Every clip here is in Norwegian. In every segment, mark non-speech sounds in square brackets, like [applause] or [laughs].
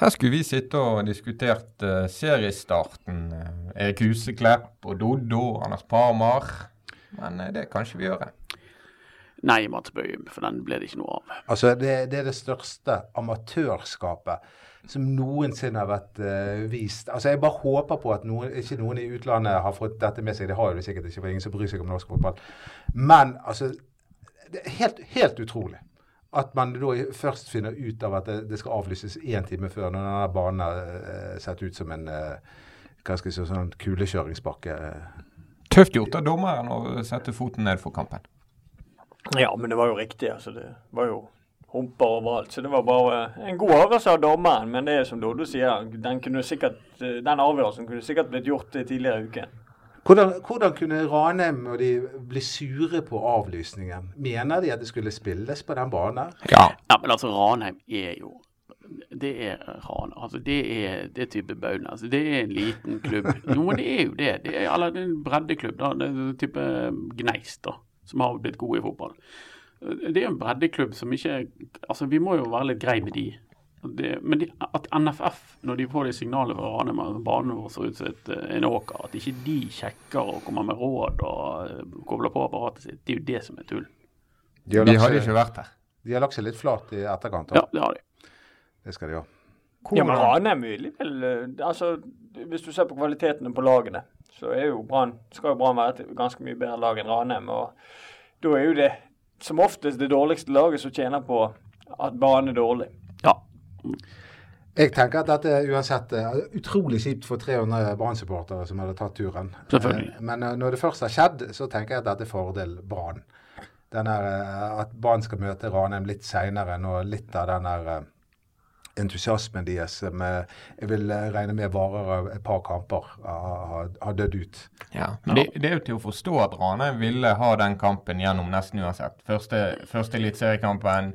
Her skulle vi sitte og diskutert eh, seriestarten. eh, Erik Huseklepp og Doddo og Anders Parmar. Men eh, det kan ikke vi gjøre. Nei, Mats Bøhm, for den ble det ikke noe av. Altså, det, det er det største amatørskapet som noensinne har vært eh, vist. Altså, Jeg bare håper på at noen, ikke noen i utlandet har fått dette med seg. Det har jo de sikkert ikke, for det er ingen som bryr seg om norsk fotball. Men altså det er helt, helt utrolig at man da først finner ut av at det, det skal avlyses én time før, når denne banen har eh, sett ut som en eh, hva skal jeg si, sånn eh, kulekjøringsbakke. Tøft gjort av dommeren å sette foten ned for kampen. Ja, men det var jo riktig. altså Det var jo humper overalt. Så det var bare en god avgjørelse av dommeren. Men det er som Doddo sier, den, kunne sikkert, den avgjørelsen kunne sikkert blitt gjort eh, tidligere i uken. Hvordan, hvordan kunne Ranheim og de bli sure på avlysningen? Mener de at det skulle spilles på den banen? her? Ja. Ja, men altså, Ranheim er jo Det er Ran. Altså, det er det type Baune. Altså, det er en liten klubb. Noen er jo det. det er, eller det er en breddeklubb, da. Det er en type Gneist, da. Som har blitt gode i fotball. Det er en breddeklubb som ikke Altså, vi må jo være litt greie med de. Det, men de, at NFF, når de får det signalet fra Ranheim at banen vår ser ut som et, en åker, at ikke de sjekker og kommer med råd og eh, kobler på apparatet sitt, det er jo det som er tull. De har, Vi lagt hadde seg, ikke vært her. de har lagt seg litt flat i etterkant. da. Ja, det har de. Det skal de gjøre. Ja, men Ranheim er likevel eh, altså, Hvis du ser på kvalitetene på lagene, så er jo Brann skal jo Brann være et ganske mye bedre lag enn Ranheim. Og da er jo det som oftest det dårligste laget som tjener på at banen er dårlig. Ja, Jeg tenker at dette er uansett eh, utrolig kjipt for 300 Brann-supportere som hadde tatt turen. Selvfølgelig. Eh, Men eh, når det først har skjedd, så tenker jeg at dette er fordel Brann. Den er, eh, At Brann skal møte Ranheim litt seinere nå, litt av den der eh, entusiasmen deres som eh, jeg vil eh, regne med varer av et par kamper, har- har har dødd ut. Ja. Men det, det er jo til å forstå at Ranheim ville ha den kampen gjennom nesten uansett. Første, første eliteseriekampen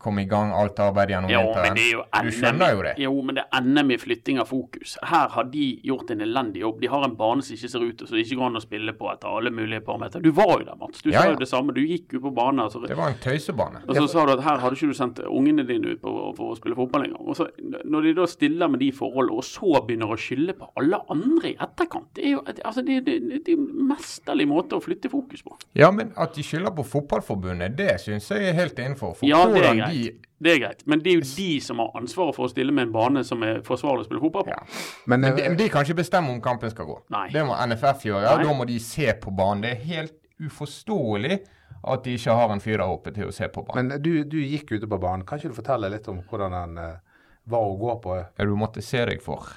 kom i gang alt arbeidet gjennom Jo, men vinteren. det er jo Du NM, skjønner jo det. Jo, men det er NM i flytting av fokus. Her har de gjort en elendig jobb. De har en bane som ikke ser ut, og som ikke går an å spille på etter alle mulige parametere. Du var jo der, Mats. Du Ja, sa ja. jo det samme. Du gikk jo på banen. Altså. Det var en tøysebane. Og så sa du at her hadde ikke du sendt ungene dine ut på, for å spille fotball engang. Og så, når de da stiller med de forholdene, og så begynner å skylde på alle andre i etterkant Det er jo altså, det, det, det, det er en mesterlig måte å flytte fokus på. Ja, men at de skylder på Fotballforbundet, det syns jeg er helt innenfor. For Ja, det er hvordan greit. Det er greit. Men det er jo de som har ansvaret for å stille med en bane som er forsvarlig å spille fotball på. Ja. Men, De, eh, men de kan ikke bestemme om kampen skal gå. Nei. Det må NFF gjøre. Nei. og Da må de se på banen. Det er helt uforståelig at de ikke har en fyr der oppe til å se på banen. men du, du gikk ute på banen. Kan ikke du fortelle litt om hvordan den eh, var å gå på? Ja, du måtte se deg for.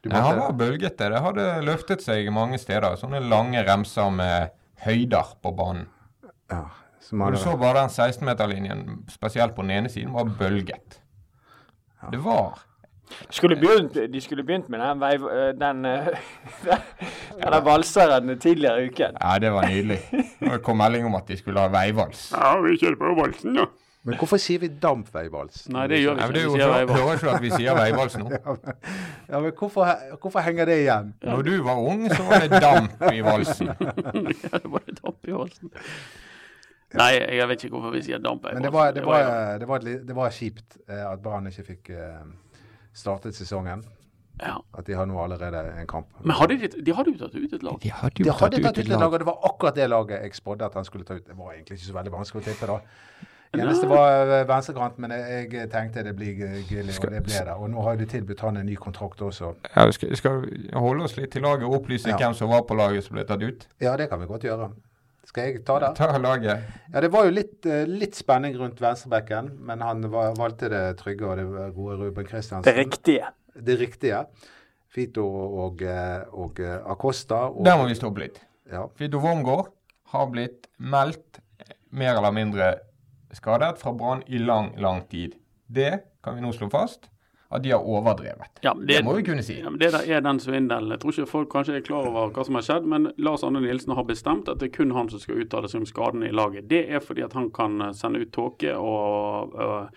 Du Nei, han måtte- var bølgete. Det hadde løftet seg mange steder. Sånne lange remser med høyder på banen. ja, som Og hadde- du så bare den 16-meterlinjen, spesielt på den ene siden, var bølget. Det var Skulle begynt, Eh, de skulle begynt med den, veiv, øh, den, øh, ja, [laughs] den valseren tidligere i uken. Ja, det var nydelig. [laughs] Nå kom melding om at de skulle ha veivals. Ja, vi kjører på valsen, ja. Men hvorfor sier vi dampveivals? Nei, det gjør Nei, vi men det er ikke. jo Vi sier hører veivals. hører ikke at vi sier veivals nå. [laughs] Ja, men hvorfor, hvorfor henger det igjen? Når du var ung, så var det damp i valsen. [laughs] Ja, det var litt opp i halsen. Nei, jeg vet ikke hvorfor vi sier damp. Men det var, det var, det var, et li- det var kjipt eh, at Brann ikke fikk eh, startet sesongen. ja. At de har nå allerede en kamp. Men hadde de, de hadde jo tatt ut et lag. De hadde De hadde tatt ut et lag, og det var akkurat det laget jeg spådde at han skulle ta ut. Det var egentlig ikke så veldig vanskelig å tippe da. Eneste var eh, venstrekant, men jeg jeg tenkte det blir eh, Gilly, og det ble det. Og nå har de tilbudt han en ny kontrakt også. [laughs] Ja, vi skal, skal vi holde oss litt til laget og opplyse Ja. hvem som var på laget som ble tatt ut? Ja, det kan vi godt gjøre. Skal jeg ta det? Ta laget. Ja, det var jo litt, eh, litt spenning rundt venstrebacken, men han va- valgte det trygge og det gode Ruben Kristiansen. Det Mm. riktige. Det riktige. Fito og, eh, og eh, Acosta. Og, Der må vi stoppe litt. Ja. Fido Wormgård har blitt meldt mer eller mindre skadet fra Brann i lang, lang tid. Det kan vi nå slå fast at de har overdrevet. Ja, men Det må vi kunne si. Ja, men det der er den svindelen. Jeg tror ikke folk kanskje er klar over hva som har skjedd, men Lars Anne Nilsen har bestemt at det er kun han som skal uttale seg om skadene i laget. Det er fordi at han kan eh, sende ut tåke og, og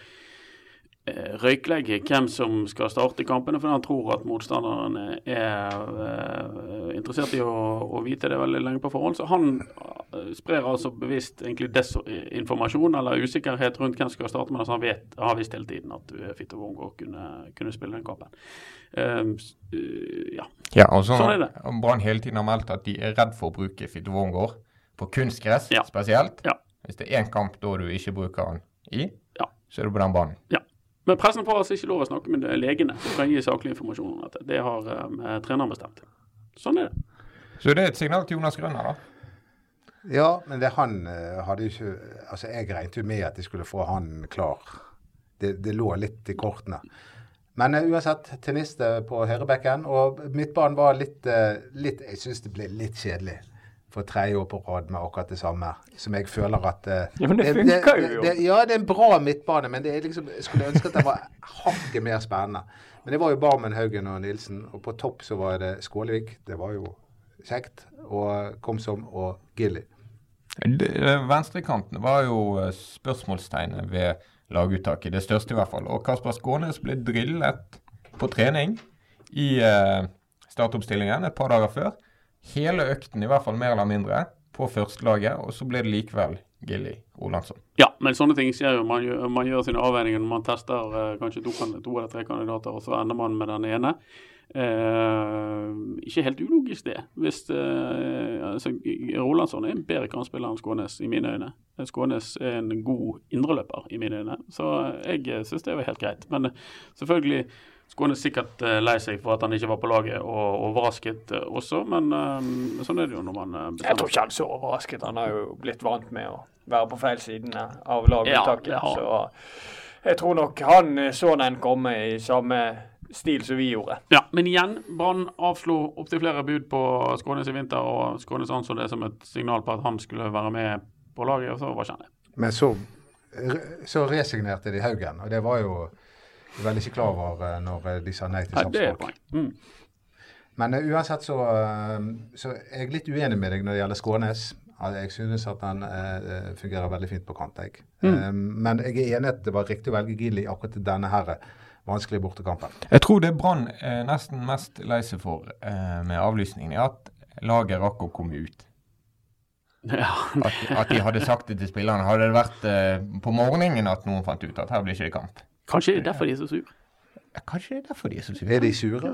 eh, røyklegge hvem som skal starte kampene, fordi han tror at motstanderne er eh, interessert i å, å vite det veldig lenge på forhånd. Så han eh, sprer altså bevisst egentlig desinformasjon eller usikkerhet rundt hvem som skal starte med det, så han vet, har visst hele tiden at eh, Fitto Wongo kunne, kunne spille den kampen. Eh, s- eh, ja. Ja, og så Sånn er det. og Brann hele tiden har meldt at de er redd for å bruke Fitte Wongård på kunstgress Ja. spesielt. Ja. Hvis det er én kamp da du ikke bruker han i, Ja. så er det på den banen. Ja. Men pressen får altså ikke lov å snakke med legene som kan gi saklig informasjon om dette. Det har eh, treneren bestemt. Sånn er det. Så det er et signal til Jonas Grønner, da. Ja, men det han eh, hadde jo ikke Altså, jeg regnet jo med at de skulle få han klar. Det, det lå litt i kortene. Men eh, uansett, tenniste på høyrebekken. Og midtbanen var litt, eh, litt Jeg syns det ble litt kjedelig for tredje år på rad med akkurat det samme. Som jeg føler at eh, Ja, men det funker jo. det- Ja, det er en bra midtbane, men det er liksom, jeg skulle ønske at den var hakket mer spennende. Men det var jo Barmen, Haugen og Nilsen, og på topp så var det Skålevik. Det var jo kjekt. Og Komsom og Gilly. Det- eh, Venstrekanten var jo eh, spørsmålstegnet ved laguttaket. Det største, i hvert fall. Og Kasper Skånes ble drillet på trening i eh, startoppstillingen et par dager før. Hele økten, i hvert fall mer eller mindre, på førstelaget. Og så ble det likevel Gilly Olandsson. Ja, men sånne ting skjer jo. Man gjør, man gjør sine avveininger når man tester eh, kanskje to, kan- to eller tre kandidater, og så ender man med den ene. Eh, ikke helt ulogisk, det. Hvis eh, altså, Rolandsson er en bedre kantspiller enn Skånes, i mine øyne. Skånes er en god indreløper, i mine øyne. Så eh, jeg syns det var helt greit. Men eh, selvfølgelig Skånes sikkert eh, lei seg for at han ikke var på laget, og overrasket eh, også. Men eh, sånn er det jo når man eh, Jeg bestemmer seg. tror ikke han er så overrasket. Han har jo blitt vant med å være på feil sidene av laguttaket. Ja, det har han. så jeg tror nok han eh, så den komme i samme stil som vi gjorde. Ja, men igjen, Brann avslo opptil flere bud på Skånes i vinter, og Skånes anså det som et signal på at han skulle være med på laget, og så var ikke han det. Men så, så resignerte de Haugen, og det var jo vel ikke klar over eh, når de sa nei til Nei, det er et Sarpsborg. poeng. Mm. Men eh, uansett så, eh, så er jeg litt uenig med deg når det gjelder Skånes. Al- Jeg synes at han eh, fungerer veldig fint på kant. Jeg. Mm. Eh, men jeg er enig i at det var riktig å velge Gilly akkurat til denne her eh, vanskelige bortekampen. Jeg tror det Brann er nesten mest lei seg for eh, med avlysningen, er at laget rakk å komme ut. Ja, At, at de hadde sagt det til spillerne. Hadde det vært eh, på morgenen at noen fant ut at her blir ikke det kamp? kanskje det er derfor de er så sure. Ja, Kanskje det er derfor de er så sure. Er de sure?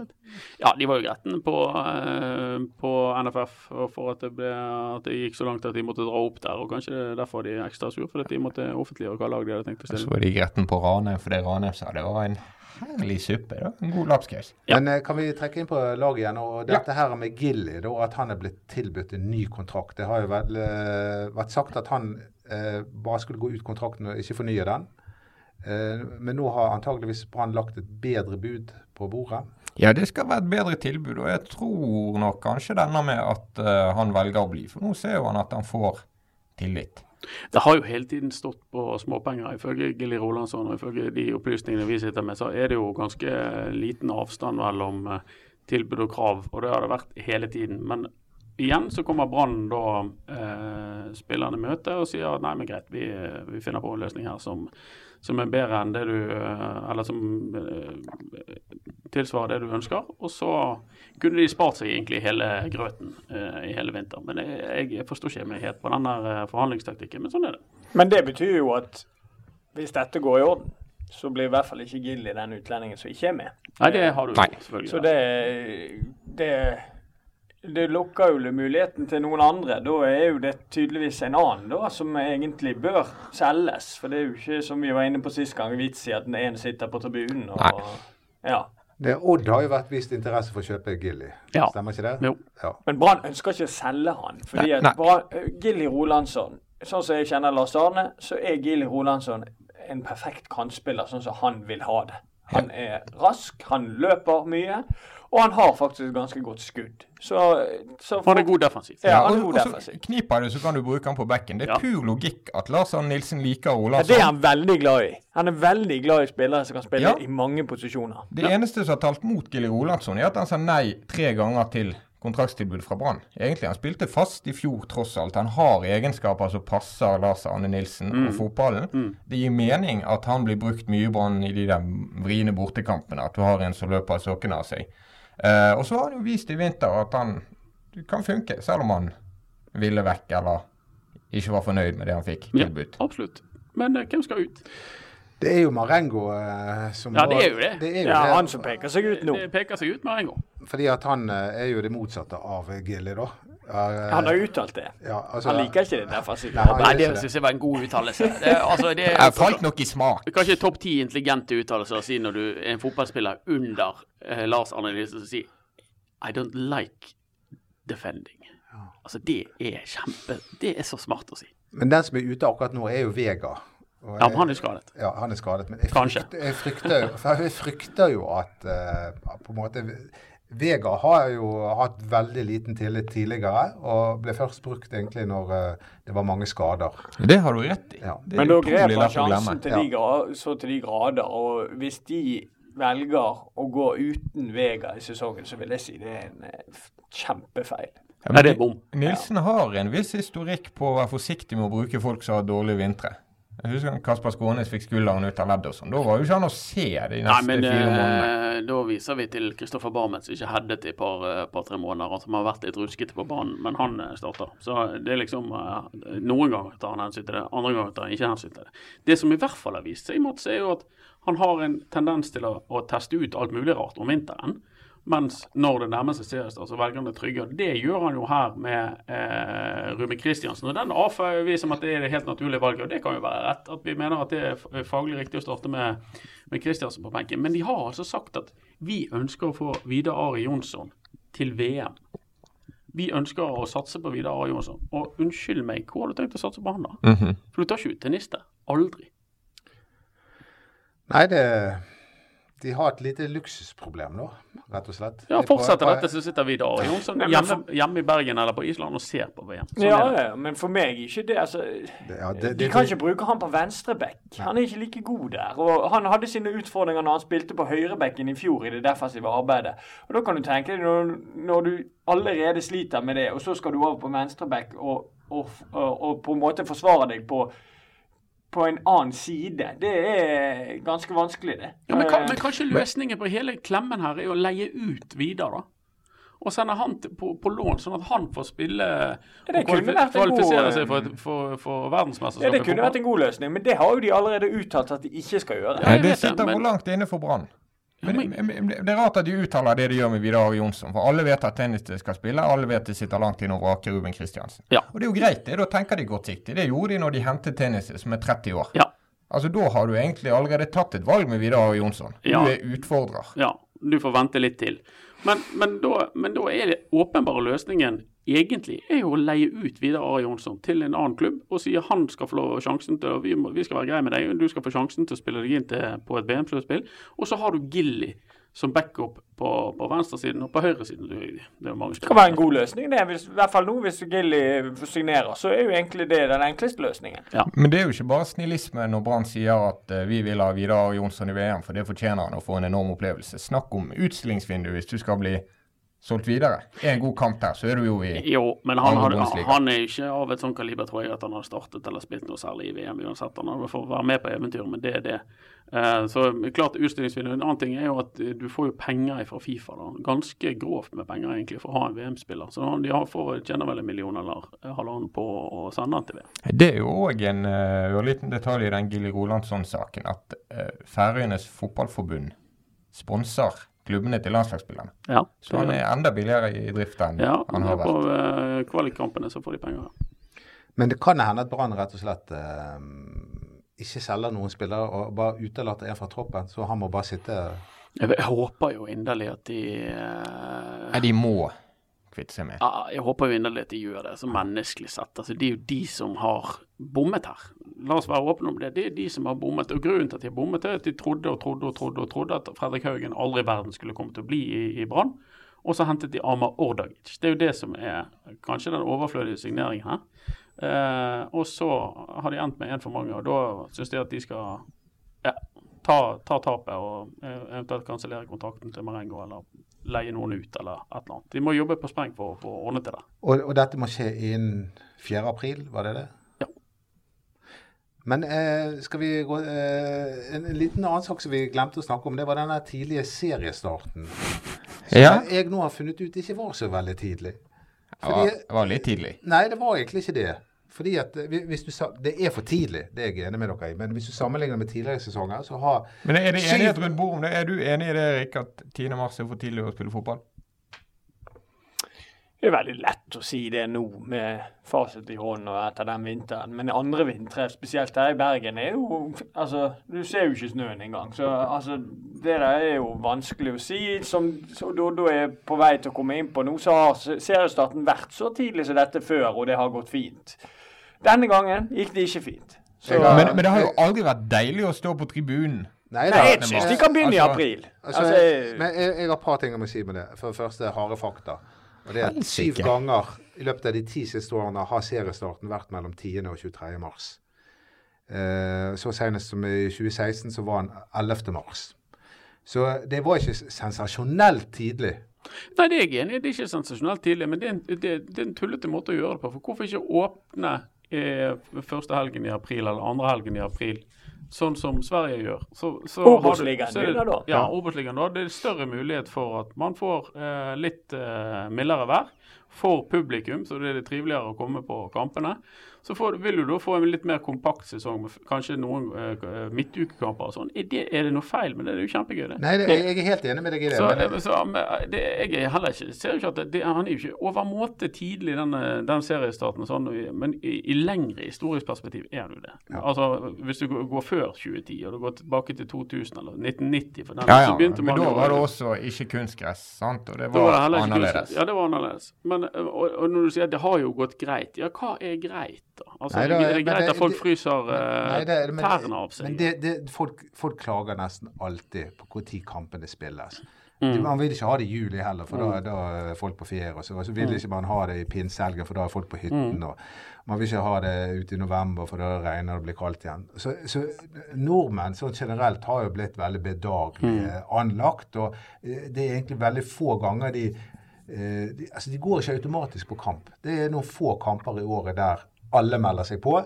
Ja, de var jo gretne på, eh, på NFF og for at det, ble, at det gikk så langt at de måtte dra opp der, og kanskje det er derfor de er ekstra sure, fordi at de måtte offentliggjøre hva lag de hadde tenkt å Så stille. var de gretten på Ranheim fordi Ranheim sa det var en herlig suppe. Det var en god lapskaus. Ja. Men eh, kan vi trekke inn på laget igjen? Og dette her med Gilly, da, at han er blitt tilbudt en ny kontrakt. Det har jo vel eh, vært sagt at han eh, bare skulle gå ut kontrakten og ikke fornye den. Eh, men nå har antageligvis Brann lagt et bedre bud på bordet. Ja, det skal være et bedre tilbud, og jeg tror nok kanskje denne med at eh, han velger å bli. For nå ser jo han at han får tillit. Det har jo hele tiden stått på småpenger. Ifølge Gilly Rolandsson og ifølge de opplysningene vi sitter med, så er det jo ganske liten avstand mellom eh, tilbud og krav, og det har det vært hele tiden. Men igjen så kommer Brann da eh, spillerne i møte og sier at nei, men greit, vi, eh, vi finner på en løsning her som, som er bedre enn det du eh, Eller som eh, tilsvarer det du ønsker. Og så kunne de spart seg egentlig hele grøten eh, i hele vinter. Men jeg, jeg forstår ikke meg helt på den der eh, forhandlingstaktikken, men sånn er det. Men det betyr jo at hvis dette går i orden, så blir i hvert fall ikke Gilly den utlendingen som ikke er med. Eh, Nei, det har du Nei. selvfølgelig. Så det, det det lukker jo muligheten til noen andre. Da er jo det tydeligvis en annen da, som egentlig bør selges. For det er jo ikke, som vi var inne på sist gang, vits i at den ene sitter på tribunen og Ja. Det, Odd har jo vært vist interesse for å kjøpe Gilly, Ja. stemmer ikke det? Jo. Ja. Men Brann ønsker ikke å selge han. Fordi Nei, at nei. Brann- Gilly Rolandsson, sånn som jeg kjenner Lars Arne, så er Gilly Rolandsson en perfekt kantspiller, sånn som han vil ha det. Han er rask, han løper mye, og han har faktisk et ganske godt skudd. Så, så Han er god defensivt. Ja, han er og, god og defensiv. så kniper det, så kan du bruke han på bekken. Det er Ja. pur logikk at Lars Arne Nilsen liker Ja, det er Olandsson. han veldig glad i. Han er veldig glad i spillere som kan spille sånn. Ja. i mange posisjoner. Det eneste som har talt mot Gilly Olandsson, er at han sa nei tre ganger til kontraktstilbud fra Brann. Egentlig, han spilte fast i fjor, tross alt. Han har egenskaper som passer Lars Arne Nilsen Mm. og fotballen. Det gir mening at han blir brukt mye i Brann i de der vriene bortekampene. At du har en som løper sokkene av seg. Eh, og så har han jo vist i vinter at han kan funke, selv om han ville vekk eller ikke var fornøyd med det han fikk Ja, tilbudt. absolutt. Men eh, hvem skal ut? Det er jo Marengo eh, som Ja, var- det er jo det. det, er jo Ja, det. han som peker seg ut nå. Det peker seg ut med en gang. Fordi at han eh, er jo det motsatte av Gilly, da. Eh, Han har uttalt det. ja, altså, Han liker ikke det derfor. Nei, sikkert. han Nei, gjør det ikke det. syns jeg var en god uttalelse. Det, altså, det er Jeg falt nok i smak. kanskje topp ti intelligente uttalelser å si når du er en fotballspiller under eh, Lars Arne Nilsen som sier I don't like defending. Altså, det er kjempe Det er så smart å si. Men den som er ute akkurat nå, er jo Vega. Og Ja, jeg- men han er skadet. Ja, han er skadet, men jeg Kanskje. frykter, jeg frykter, jo, for jeg frykter jo at eh, på en måte Vega har jo hatt veldig liten tillit tidligere, og ble først brukt egentlig når eh, det var mange skader. Det har du rett i. Ja. Det er Men da utrolig grep han lett å glemme. sjansen til de gra- så til de grader. Og hvis de velger å gå uten Vega i sesongen, så vil jeg si det er en eh, f- kjempefeil. Ja, Nei, men det er bom. Nilsen har en viss historikk på å være forsiktig med å bruke folk som har dårlige vintre. Jeg husker han Kasper Skånes fikk skulderen ut av ledd og sånn. Da var jo ikke han å se de neste Nei, men fire månedene. eh, da viser vi til Kristoffer Barmen som ikke headet i et par, eh, par-tre måneder, og som har vært litt ruskete på banen, men han eh, starter. Så det er liksom eh, Noen ganger tar han hensyn til det, andre ganger tar han ikke hensyn til det. Det som i hvert fall har vist seg, Mats, er jo at han har en tendens til å, å teste ut alt mulig rart om vinteren. Mens når det nærmer seg seriestart, så velger han det trygge. Og Det gjør han jo her med eh, Ruben Kristiansen. Og den avfeier vi som at det er det helt naturlige valget, og det kan jo være rett. At vi mener at det er f- eh, faglig riktig å starte med, med Kristiansen på benken. Men de har altså sagt at vi ønsker å få Vidar Ari Jonsson til VM. Vi ønsker å satse på Vidar Ari Jonsson. Og unnskyld meg, hvor har du tenkt å satse på han da? Mhm. For du tar ikke ut tennister. Aldri. Nei, det De har et lite luksusproblem nå, rett og slett. Ja, Jeg prøver- Fortsetter dette, så sitter Vidar Ari Jonsson Nei, men hjemme, for- hjemme i Bergen eller på Island og ser på VM. Sånn Ja, er det. ja, men for meg er ikke det altså, Ja, det, De det, kan ikke bruke han på venstreback. Han er ikke like god der. Og han hadde sine utfordringer når han spilte på høyrebacken i fjor i det defensive arbeidet. Og da kan du tenke deg når, når du allerede sliter med det, og så skal du over på venstreback og, og, og, og på en måte forsvare deg på på en annen side. Det er ganske vanskelig, det. Ja, men, kan, Eh, men kanskje løsningen på hele klemmen her er å leie ut Vidar, da? Og sende han til, på, på lån, sånn at han får spille og det kunne kvalifi- vært en god- eh, kvalifisere seg for, et- for, for sånn verdensmesterskapet. ja, det i kunne fotball. vært en god løsning, men det har jo de allerede uttalt at de ikke skal gjøre. Ja, jeg Nei, det vet det, sitter men- hvor langt inne for Brann. Men, men- men- men det er rart at de uttaler det de gjør med Vidar Ari Jonsson. For alle vet at tennis de skal spille, alle vet de sitter langt inne og vraker Ruben Kristiansen. Ja. Og det er jo greit, det. Da tenker de kortsiktig. Det gjorde de når de hentet tennis som er 30 år. Ja. Altså, Da har du egentlig allerede tatt et valg med Vidar Ari Jonsson. Du Ja. er utfordrer. Ja, du får vente litt til. Men, men, da, men da er det åpenbare løsningen egentlig er jo å leie ut Vidar Ari Jonsson til en annen klubb og si han skal få lov- sjansen til vi, må, vi skal være greie med deg, du skal få sjansen til å spille deg inn til, på et VM-sluttspill. Og så har du Gilly som backup på, på venstresiden og på høyresiden. Det er jo mange Det kan være en god løsning, det. Hvis, I hvert fall nå, hvis Gilly signerer, så er jo egentlig det den enkleste løsningen. Men det er jo ikke bare snillisme når Brann sier at eh, vi vil ha Vidar Ari Jonsson i VM, for det fortjener han å få en enorm opplevelse. Snakk om utstillingsvindu hvis du skal bli solgt videre. En god kamp der, så er du jo i Jo, men han, Andre hadde- Bundesliga. han er ikke av et sånt kaliber, tror jeg, at han har startet eller spilt noe særlig i VM uansett. Han får være med på eventyret, men det er det. Eh, Så klart utstillingsvindu. En annen ting er jo at eh, du får jo penger fra Fifa. da. Ganske grovt med penger egentlig for å ha en VM-spiller. Så han- de har- får tjener vel en million eller eh, halvannen på å sende han til VM. Det er jo òg en eh, ørliten detalj i den Gilly Rolandsson-saken at eh, Færøyenes fotballforbund sponser klubbene til landslagsspillerne. Ja, Så han er enda billigere i drift enn ja, han har på vært. eh, kvalikkampene så får de penger. Men det kan hende at Brann rett og slett eh, ikke selger noen spillere og bare utelater en fra troppen, så han må bare sitte Jeg, jeg håper jo inderlig at de eh, Nei, de må kvitte seg med. Ja, jeg håper jo inderlig at de gjør det, så menneskelig sett. Altså, det er jo de som har bommet her. La oss være åpne om det. Det er de som har bommet. Og grunnen til at de har bommet, er at de trodde og trodde og trodde og trodde at Fredrik Haugen aldri i verden skulle komme til å bli i, i Brann. Og så hentet de Amar Ordagic. Det er jo det som er kanskje den overflødige signeringen her. Eh, og så har de endt med én for mange, og da syns jeg at de skal ja, ta, ta tapet og eh, eventuelt kansellere kontrakten til Marengo eller leie noen ut eller et eller annet. De må jobbe på spreng for, for å ordne til det. Og, og dette må skje innen 4. april, var det det? Ja. Men eh, skal vi gå eh, En en liten annen sak som vi glemte å snakke om, det var den der tidlige seriestarten. Som Ja. jeg nå har funnet ut ikke var så veldig tidlig. Det var, Fordi- det var litt tidlig. Nei, det var egentlig ikke det. Fordi at eh, hvis du sa, Det er for tidlig, det er jeg enig med dere i. Men hvis du sammenligner med tidligere sesonger, så har Men er det Syv- enighet rundt bordet om det? Er du enig i det, Erik, at 10. mars er for tidlig å spille fotball? Det er veldig lett å si det nå med fasit i hånden og etter den vinteren. Men andre vintre, spesielt her i Bergen, er jo Altså, du ser jo ikke snøen engang. Så altså, det der er jo vanskelig å si. Som som Doddo er på vei til å komme inn på nå, så har se- seriestarten vært så tidlig som dette før, og det har gått fint. Denne gangen gikk det ikke fint. Så Jeg har- Men, men det har jo aldri vært deilig å stå på tribunen. Nei, Nei, jeg da, syns de kan begynne i Altså- april. Altså, Altså, jeg, men jeg, jeg har et par ting jeg må si med det. For det første harde fakta. Og det er at syv Helsike. ganger i løpet av de ti siste årene har seriestarten vært mellom 10. og 23. mars. Eh, så senest som i 2016 så var den 11. mars. Så det var ikke sensasjonelt tidlig. Nei, det er jeg enig i. Det er ikke sensasjonelt tidlig, men det er, en, det, det er en tullete måte å gjøre det på. For hvorfor ikke åpne eh, første helgen i april eller andre helgen i april, sånn som Sverige gjør? Så- så har du- Obos-ligaen så er det- begynner da. Ja, Obos-ligaen da. Det er større mulighet for at man får eh, litt eh, mildere vær for publikum, så det er det triveligere å komme på kampene. Så får, vil du da få en litt mer kompakt sesong, med f- kanskje noen eh, midtukekamper og sånn. Er det, er det noe feil med det? Det er jo kjempegøy, det. Nei, det, jeg, jeg er helt enig med deg i det. men- Så, så men eh, det, jeg er heller ikke, ser jo ikke at det, det, Han er jo ikke overmåte tidlig, den, den seriestarten, sånn, men i, i lengre historisk perspektiv er han jo det. Altså, Hvis du går går før 2010, og du går tilbake til 2000 eller 1990 for den, Ja, ja, så begynte men man da jo- var det også ikke kunstgress, sant? Og det da var, var det heller ikke annerledes. kunstgress. Ja, det var annerledes. Men, ø, og, og når du sier at det har jo gått greit, ja, hva er greit, da? Altså, Nei, da, er det men greit det- at folk det- fryser eh, Nei, det er- men- tærne av seg? Men det, det, folk, folk klager nesten alltid på når kampene spilles. Mm. Man vil ikke ha det i juli heller, for da, da er folk på ferie. Og så, og så Mm. vil ikke man ha det i pinsehelgen, for da er folk på hytten. Og man vil ikke ha det ute i november, for da regner det og blir kaldt igjen. Så, så nordmenn sånn generelt har jo blitt veldig bedagelig Mm. eh, anlagt, og eh, det er egentlig veldig få ganger de eh, de, altså de går ikke automatisk på kamp. Det er noen få kamper i året der alle melder seg på.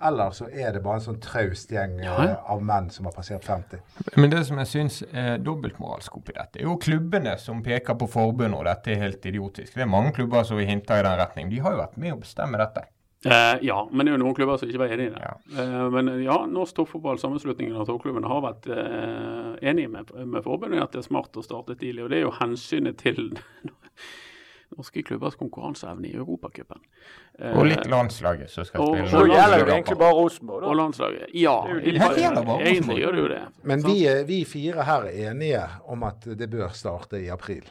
Eller så er det bare en sånn traust gjeng eh, av menn som har passert 50. Men det som jeg syns er dobbeltmoralsk oppi dette, er jo klubbene som peker på forbundet, og dette er helt idiotisk. Det er mange klubber som hinter i den retning. De har jo vært med å bestemme dette. Eh, ja, men det er jo noen klubber som ikke var enig i det. Ja. Eh, men eh, ja, Norsk Toppfotball, sammenslutningen av toppklubbene, har vært eh, enige med, med forbundet i at det er smart å starte tidlig. Og det er jo hensynet til [laughs] norske klubbers konkurranseevne i Europacupen. Eh, Og litt landslaget som skal Og- spille. så noen gjelder det jo kamper. egentlig bare Rosenborg, og da. landslaget. Ja, Det er jo i- de- Ja, det gjelder bare Rosenborg. egentlig gjør det jo det. Men sant? vi, er- vi fire her er enige om at det bør starte i april.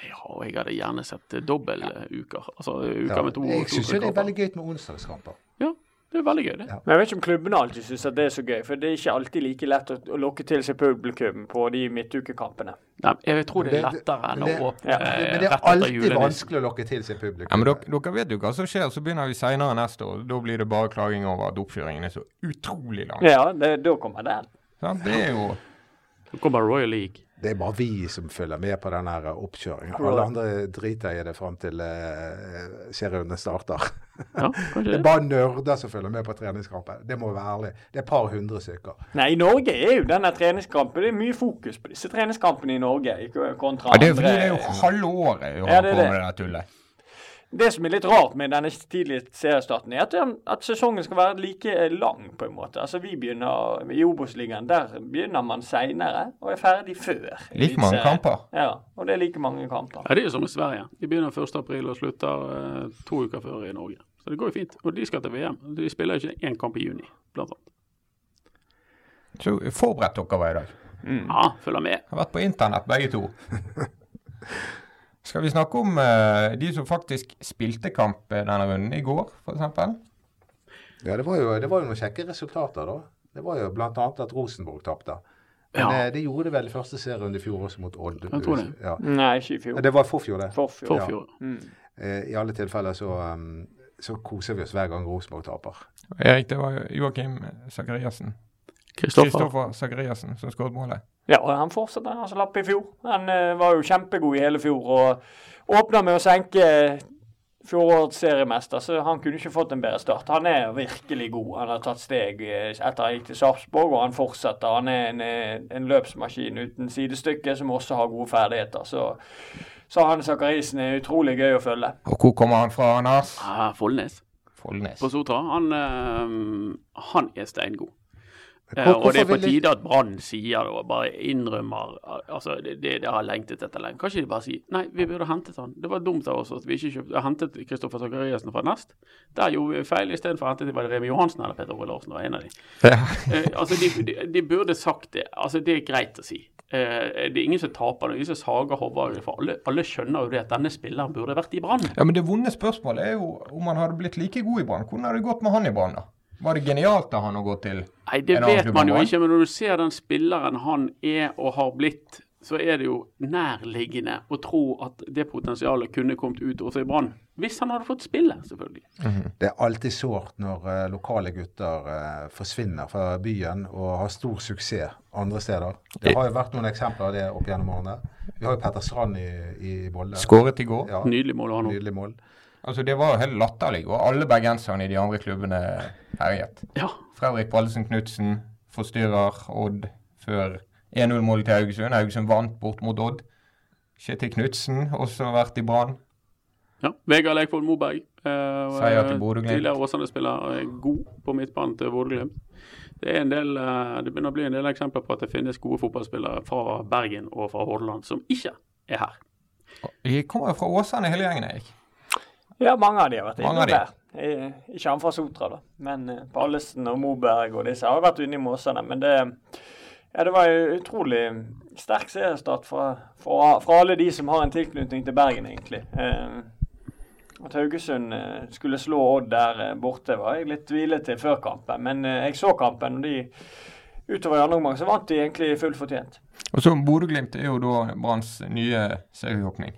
Ja, og jeg hadde gjerne sett eh, dobbeltuker. Altså uker Ja. med to Jeg syns to- jo det er veldig gøy med onsdagskamper. Ja, det er veldig gøy, det. Ja. Men jeg vet ikke om klubbene alltid syns det er så gøy. For det er ikke alltid like lett å, å lokke til seg publikum på de midtukekampene. Nei, jeg tror det er Men det- lettere enn å men det- åpne Ja, eh, Men det er rett etter alltid julenissen. vanskelig å lokke til seg Ja, publikum. men dere, dere vet jo hva som skjer, så begynner vi seinere neste år. Da blir det bare klaging over at oppkjøringen er så utrolig lang. Ja, det, da kommer den. Sant? Det er jo Så kommer Royal League. Det er bare vi som følger med på den her oppkjøringen. Alle andre driter i det fram til eh, serierundene starter. Ja, kanskje Det er bare nerder som følger med på treningskampen. Det må være ærlig. Det er et par hundre stykker. Nei, i Norge er jo denne treningskampen Det er mye fokus på disse treningskampene i Norge. ikke kontra ja, Det er andre- fordi det er jo halve året vi Ja, holder det er på det. med det der tullet. Det som er litt rart med denne tidlige seriestarten, er at, den- at sesongen skal være like lang, på en måte. Altså, vi begynner I Obos-ligaen der begynner man seinere og er ferdig før. Like mange Eliteserien. kamper. Ja, og det er like mange kamper. Ja, Det er jo som i Sverige. De begynner 1. april og slutter eh, to uker før i Norge. Så det går jo fint. Og de skal til VM. De spiller jo ikke én kamp i juni, blant annet. Så forberedt dere var i dag. Ja, følger med. Har vært på internett, begge [laughs] to. Skal vi snakke om eh, de som faktisk spilte kamp eh, denne runden i går, f.eks.? Ja, det var, jo, det var jo noen kjekke resultater, da. Det var jo bl.a. at Rosenborg tapte. Men Ja. eh, de gjorde det vel i første serierunde i fjor også mot Old. Jeg tror det. Ja. Nei, ikke i fjor. Det var i forfjor, det. Forfjor. Mm. Forfjor. Eh, I alle tilfeller så, um, så koser vi oss hver gang Rosenborg taper. Erik, det var Joakim Sakariassen. Kristoffer. Kristoffer Sakariassen som skåret målet. Ja, og han fortsatte han som lapp i fjor. Han eh, var jo kjempegod i hele fjor og åpna med å senke eh, fjorårets seriemester, så han kunne ikke fått en bedre start. Han er virkelig god. Han har tatt steg eh, etter han gikk til Sarpsborg, og han fortsetter. Han er en, eh, en løpsmaskin uten sidestykke som også har gode ferdigheter. Så, så han Sakarisen er utrolig gøy å følge. Og hvor kommer han fra, Anders? Ah, Follnes. Follnes. på Sotra, han, eh, han er steingod. Eh, Hvor- og det er på hvorfor vil de- tide at Brann sier det og bare innrømmer al- altså det, det, det har lengtet etter lenge. Kanskje de bare sier nei, vi burde hentet han. Det var dumt av oss at vi ikke kjøpte, eh, hentet Kristoffer Sakariassen fra Nest. Der gjorde vi feil. Istedenfor hentet de var det Remi Johansen eller Peter Ole Larsen. Det var en av de. Ja. Eh, altså de, de, de burde sagt det. Altså, det er greit å si. Eh, det er ingen som taper, det er ingen som sager Håvard. For alle, alle skjønner jo det at denne spilleren burde vært i Brann. ja, men det vonde spørsmålet er jo om han hadde blitt like god i Brann. Hvordan hadde det gått med han i Brann, da? Var det genialt av han å gå til Nei, det en annen vet klubb enn man jo Brann? ikke, men når du ser den spilleren han er og har blitt, så er det jo nærliggende å tro at det potensialet kunne kommet ut også i Brann. Hvis han hadde fått spille, selvfølgelig. Det er alltid sårt når eh, lokale gutter eh, forsvinner fra byen og har stor suksess andre steder. Det har jo vært noen eksempler av det opp gjennom årene. Vi har jo Petter Strand i, i Bolle. Skåret i går. Ja, Nydelig mål å ha nå. nydelig mål. Altså, det var jo helt latterlig. Og alle bergenserne i de andre klubbene herjet. Ja, Fredrik Pallesen Knutsen forstyrrer Odd før 1-0-målet til Haugesund. Haugesund vant bort mot Odd. Kjetil Knutsen, også vært i Brann. Ja. Vegard Leikvoll Moberg. Eh, Seier til Bodø-Glimt. Tidligere Åsane-spiller eh, god på midtbanen til Bodø-Glimt. Det, er en del, eh, det begynner å bli en del eksempler på at det finnes gode fotballspillere fra Bergen og fra Hordaland som ikke er her. De kommer jo fra Åsane, hele gjengen, Erik. Ja, mange av de har vært Mange innom av de. der. Eh, Ikke han fra Sotra, da. Men eh, Pallesen og Moberg og disse har vært inne i Måsene. Men det, ja, det var jo utrolig sterk seriestart fra, fra, fra alle de som har en tilknytning til Bergen, egentlig. Eh, At Haugesund eh, skulle slå Odd der eh, borte, var jeg litt tvilet til før kampen. Men eh, jeg så kampen, og de utover i andre omgang så vant de egentlig fullt fortjent. Og så Bodø-Glimt er jo da Branns nye serieåpning.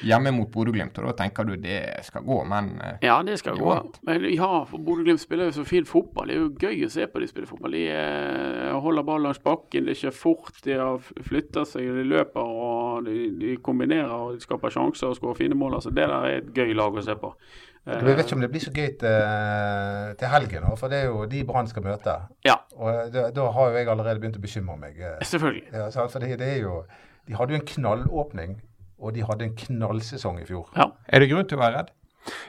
Hjemme mot Bodø-Glimt, og da tenker du det skal gå, men eh, Ja, det skal Det gå. var alt. Men ja, for Bodø-Glimt spiller jo så fin fotball. Det er jo gøy å se på de spiller fotball. De eh, holder ballen langs bakken, de kjører fort, de har f- flytter seg, de løper og de, de kombinerer og de skaper sjanser og skårer fine mål. Altså, det der er et gøy lag å se på. Eh, Jeg vet ikke om det blir så gøy eh, til, til helgen, nå, for det er jo de Brann skal møte. Ja, Og eh, da, da har jo jeg allerede begynt å bekymre meg. eh, selvfølgelig. Ja, sant? for det, det er jo, de hadde jo en knallåpning, og de hadde en knallsesong i fjor. Ja. er det grunn til å være redd?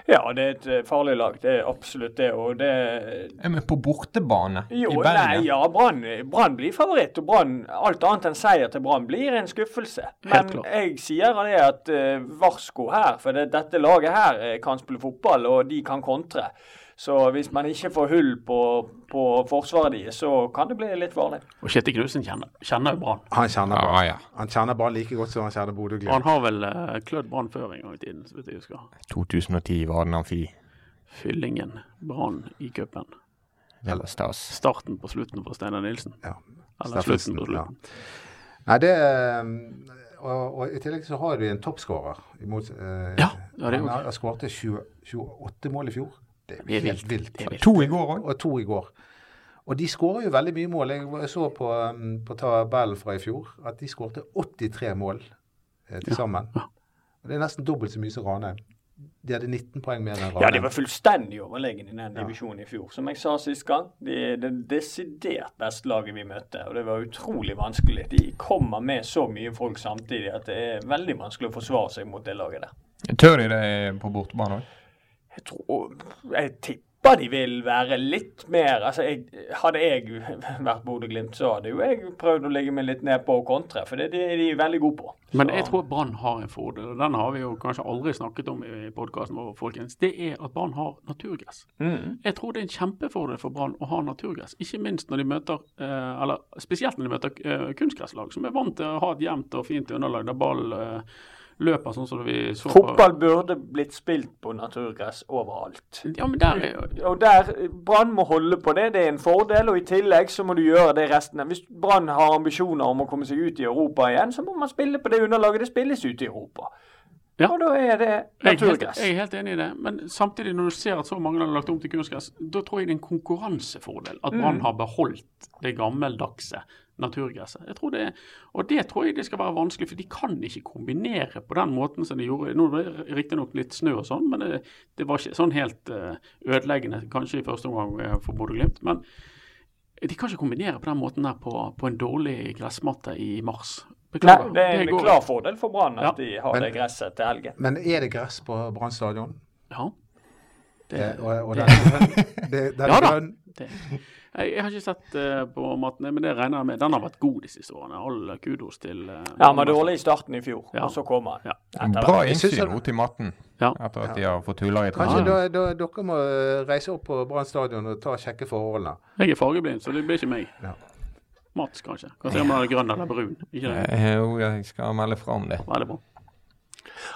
Ja, det er et eh, farlig lag. Det er absolutt det. Og det, Ja, men på bortebane i Jo, Bergen nei, ja, Brann Brann blir favoritt, og Brann Alt annet enn seier til Brann blir en skuffelse. Men Helt klart. jeg sier det at eh, varsko her, for det, dette laget her eh, kan spille fotball, og de kan kontre. Så hvis man ikke får hull på, på forsvaret deres, så kan det bli litt farlig. Og Kjetil Knutsen kjenner kjenner jo Brann. Han kjenner Ja, Brann ja. Han kjenner Brann like godt som han kjenner Og han Bodø-Glimt. har vel eh, klødd Brann før en gang i tiden, så vidt jeg husker. 2010 var den amfi. Fyllingen Brann i cupen. Det var stas. Starten på slutten for Steinar Nilsen. Ja. Eller slutten på slutten. Nei, det eh, og, og i tillegg så har de en toppskårer. imot, eh, Ja, ja, det er jo- Han har- har skåret 20 28 mål i fjor. Det er jo helt vilt. Det er vilt. To i går òg. Og to i går. Og de skårer jo veldig mye mål. Jeg var- så på, um, på tabellen fra i fjor at de skårte 83 mål eh, til sammen. Og det er nesten dobbelt så mye som Ranheim. De hadde 19 poeng mer enn Ranheim. Ja, de var fullstendig overlegen i den divisjonen i fjor. Som jeg sa sist gang, de er det desidert beste laget vi møtte. Og det var utrolig vanskelig. De kommer med så mye folk samtidig at det er veldig vanskelig å forsvare seg mot det laget der. Tør de det på bortebane òg? Jeg tror Jeg tipper de vil være litt mer Altså, jeg, hadde jeg vært Bodø-Glimt, så hadde jo jeg prøvd å legge meg litt ned på å kontre, for det, det er de veldig gode på. Men Så- jeg tror Brann har en fordel, og den har vi jo kanskje aldri snakket om i podkasten vår, folkens. Det er at Brann har naturgress. Mm. Jeg tror det er en kjempefordel for Brann å ha naturgress. Ikke minst når de møter, eh, eller spesielt når de møter eh, kunstgresslag, som er vant til å ha et jevnt og fint underlag der ball eh, løper sånn som vi så på. Fotball burde blitt spilt på naturgress overalt. Ja, men der er Og der, Brann må holde på det, det er en fordel. Og i tillegg så må du gjøre det resten av Hvis Brann har ambisjoner om å komme seg ut i Europa igjen, så må man spille på det underlaget det spilles ut i Europa. Ja. Og da er det Jeg er, helt, naturgress. jeg er helt enig i det, men samtidig når du ser at så mange har lagt om til kunstgress, da tror jeg det er en konkurransefordel at Mm. Brann har beholdt det gammeldagse naturgresset. Jeg tror det, og det tror jeg det skal være vanskelig, for de kan ikke kombinere på den måten som de gjorde. Nå var det riktignok litt snø og sånn, men det, det var ikke sånn helt eh, ødeleggende kanskje i første omgang eh, for Bodø-Glimt. Men de kan ikke kombinere på den måten der på, på en dårlig gressmatte i mars. Nei, Beklager. det er en går- klar fordel for Brann at Ja. de har Men- det gresset til helgen. Men er det gress på Brann stadion? Ja. Det, Eh, og, og det- den, det- den [laughs] Ja da. grønn, det. Jeg, jeg har ikke sett eh, på maten, men det regner jeg med. Den har vært god de siste årene. All kudos til eh, Ja, han var dårlig i starten i fjor, Ja. og så kom han. Ja. Etter Bra Jeg synes innsyn han- nå til matten, Ja. etter at de har fått huller i Kanskje tennene. da, da, dere må eh, reise opp på Brann stadion og ta og sjekke forholdene. Jeg er fargeblind, så det blir ikke meg. Ja. Mats, kanskje. Kanskje om den er grønn eller brun. Ikke det? Eh, Jo, jeg skal melde fra om det. Veldig bra.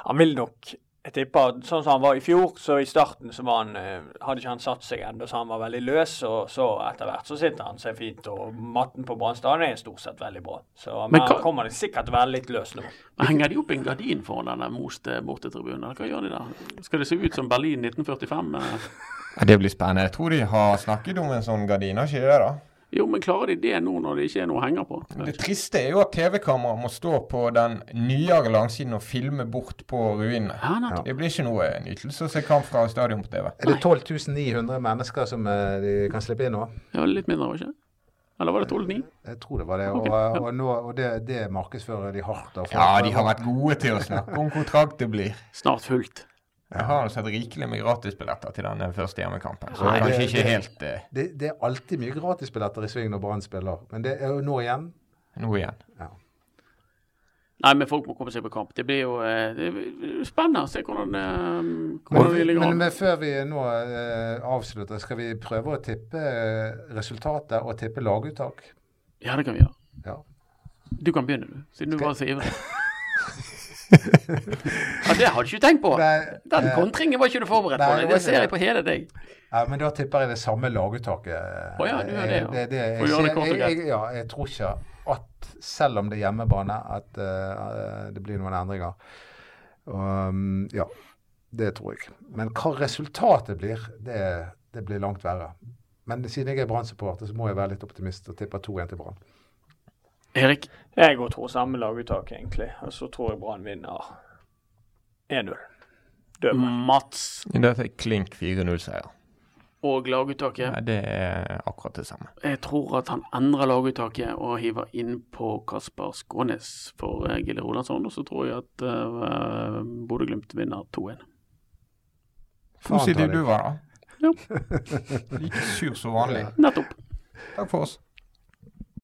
Han vil nok jeg tipper, at Sånn som han var i fjor, så i starten så var han, eh, hadde ikke han satt seg ennå, så han var veldig løs. Og så etter hvert så sitter han seg fint, og matten på Brann stadion er stort sett veldig bra. Så, men Men hva- han kommer sikkert til å være litt løs nå. Men Henger de opp en gardin foran denne moste bortetribunen? eller Hva gjør de der? Skal det se ut som Berlin 1945? eh? Ja, Det blir spennende. Jeg tror de har snakket om en sånn gardin, har ikke de det? da? Jo, men klarer de det nå når det ikke er noe å henge på? Det triste er jo at TV-kameraet må stå på den nyere langsiden og filme bort på ruinene. Ja, nettopp. Det blir ikke noe nytelse å se kamp fra stadion på TV. Er det 12 900 mennesker som eh, de kan slippe inn nå? Ja, litt mindre, var det ikke? Eller var det 12-9? Jeg tror det var det. Og, og, nå, og det, det markedsfører de hardt. Og folk- Ja, de har vært gode til å snakke om hvor trangt det blir. Snart fullt. Jeg har altså hatt rikelig med gratisbilletter til den første hjemmekampen, så Nei, kanskje det- ikke det- helt eh, det, det er alltid mye gratisbilletter i sving når Brann spiller, men det er jo nå igjen. noe igjen. Ja. Nei, men folk må komme seg på kamp. Det blir jo eh, det blir spennende å se hvordan, eh, hvordan vi Men, ligger men, an. men før vi nå eh, avslutter, skal vi prøve å tippe eh, resultatet og tippe laguttak? Ja, det kan vi gjøre. Ja. Du kan begynne, du. Siden du var så [laughs] ivrig. ja, det hadde du ikke tenkt på. Nei, Den eh, kontringen var ikke du forberedt nei, på. det Det, var det ikke ser jeg det. på hele deg. Ja, men da tipper jeg det samme laguttaket. Å ja, du gjør det, ja. Jeg- det, jeg, Får gjøre det ser- kort og jeg, jeg, ja, jeg tror ikke at, selv om det er hjemmebane, at eh, det blir noen endringer. Og, um, ja, det tror jeg. Men hva resultatet blir, det, det blir langt verre. Men siden jeg er Brann-supporter, så må jeg være litt optimist og tippe 2-1 til Brann. Erik, Jeg går tror samme laguttak, egentlig. Og så tror jeg Brann vinner 1-0. Dømmer. Mats Dette er klink 4-0-seier. og laguttaket. Det er akkurat det samme. Jeg tror at han endrer laguttaket og hiver inn på Kasper Skånes for eh, Gille Rolandsson. Og så tror jeg at uh, Bodø-Glimt vinner 2-1. Positiv Faen ta du var, da. Ja. [laughs] Like sur som vanlig. Nettopp. Takk for oss.